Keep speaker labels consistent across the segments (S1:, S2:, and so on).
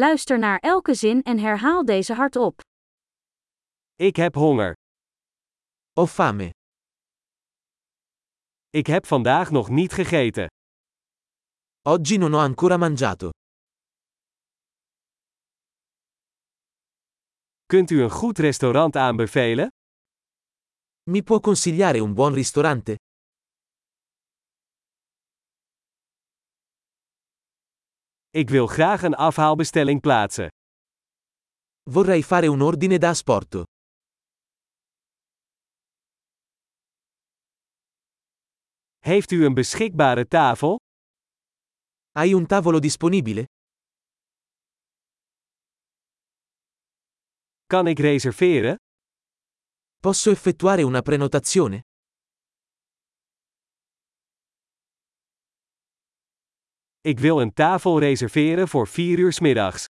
S1: Luister naar elke zin en herhaal deze hardop.
S2: Ik heb honger.
S3: Ho fame.
S2: Ik heb vandaag nog niet gegeten.
S3: Oggi non ho ancora mangiato.
S2: Kunt u een goed restaurant aanbevelen?
S3: Mi può consigliare un buon ristorante?
S2: Ik wil graag een afhaalbestelling plaatsen.
S3: Vorrei fare un ordine da asporto.
S2: Heeft u een beschikbare tafel?
S3: Hai un tavolo disponibile?
S2: Kan ik reserveren?
S3: Posso effettuare una prenotazione?
S2: Ik wil een tafel reserveren voor 4 uur 's middags.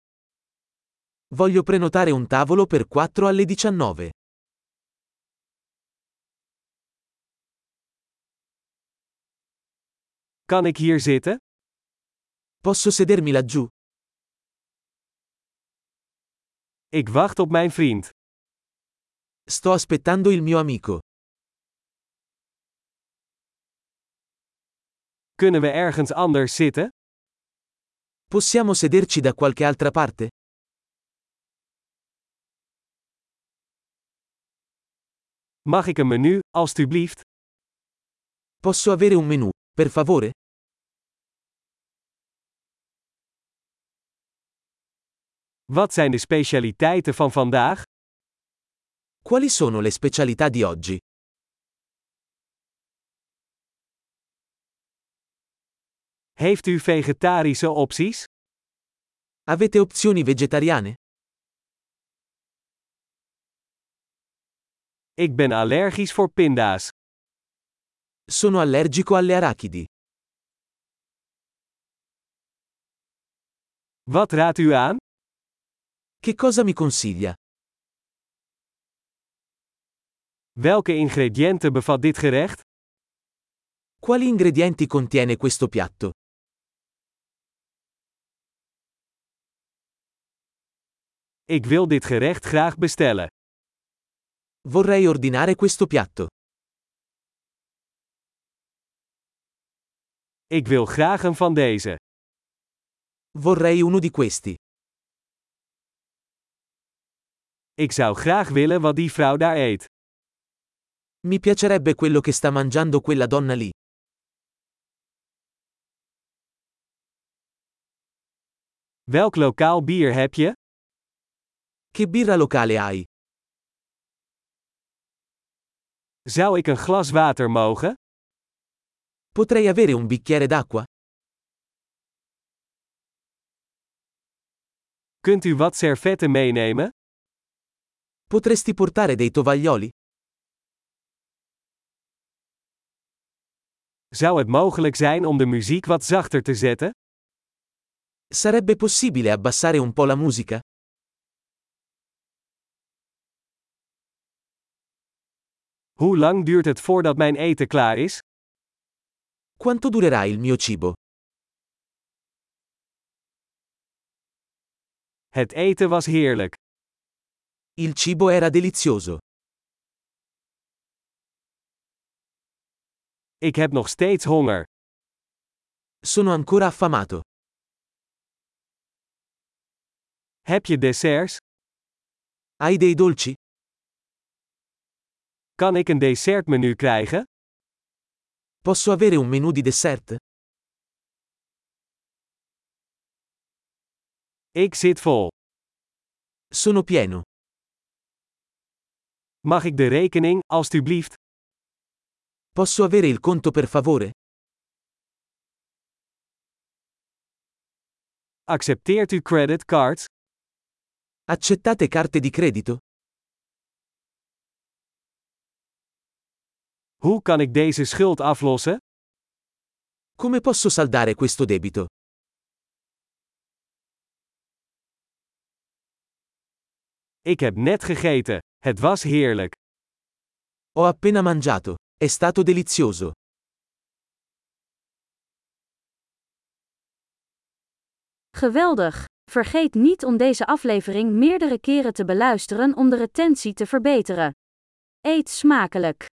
S3: Voglio prenotare un tavolo per 4 alle 19.
S2: Kan ik hier zitten?
S3: Posso sedermi laggiù?
S2: Ik wacht op mijn vriend.
S3: Sto aspettando il mio amico.
S2: Kunnen we ergens anders zitten?
S3: Possiamo sederci da qualche altra parte?
S2: Mag ik een menu, alstublieft?
S3: Posso avere un menù, per favore?
S2: Wat zijn de specialiteiten van vandaag?
S3: Quali sono le specialità di oggi?
S2: Heeft u vegetarische opties?
S3: Avete opzioni vegetariane?
S2: Ik ben allergisch voor pinda's.
S3: Sono allergico alle arachidi.
S2: Wat raadt u aan?
S3: Che cosa mi consiglia?
S2: Welke ingrediënten bevat dit gerecht?
S3: Quali ingredienti contiene questo piatto?
S2: Ik wil dit gerecht graag bestellen.
S3: Vorrei ordinare questo piatto.
S2: Ik wil graag een van deze.
S3: Vorrei uno di questi.
S2: Ik zou graag willen wat die vrouw daar eet.
S3: Mi piacerebbe quello che sta mangiando quella donna lì.
S2: Welk lokaal bier heb je?
S3: Che birra locale hai?
S2: Zou ik een glas water mogen?
S3: Potrei avere un bicchiere d'acqua?
S2: Kunt u wat servetten meenemen?
S3: Potresti portare dei tovaglioli?
S2: Zou het mogelijk zijn om de muziek wat zachter te zetten?
S3: Sarebbe possibile abbassare un po' la musica?
S2: Hoe lang duurt het voordat mijn eten klaar is?
S3: Quanto durerà il mio cibo?
S2: Het eten was heerlijk.
S3: Il cibo era delizioso.
S2: Ik heb nog steeds honger.
S3: Sono ancora affamato.
S2: Heb je desserts?
S3: Hai dei dolci?
S2: Kan ik een dessertmenu krijgen?
S3: Posso avere un menù di dessert?
S2: Ik zit vol.
S3: Sono pieno.
S2: Mag ik de rekening, alstublieft?
S3: Posso avere il conto per favore?
S2: Accepteert u creditcards?
S3: Accettate carte di credito?
S2: Hoe kan ik deze schuld aflossen?
S3: Come posso saldare questo debito?
S2: Ik heb net gegeten. Het was heerlijk.
S3: Ho appena mangiato. È stato delizioso.
S1: Geweldig! Vergeet niet om deze aflevering meerdere keren te beluisteren om de retentie te verbeteren. Eet smakelijk!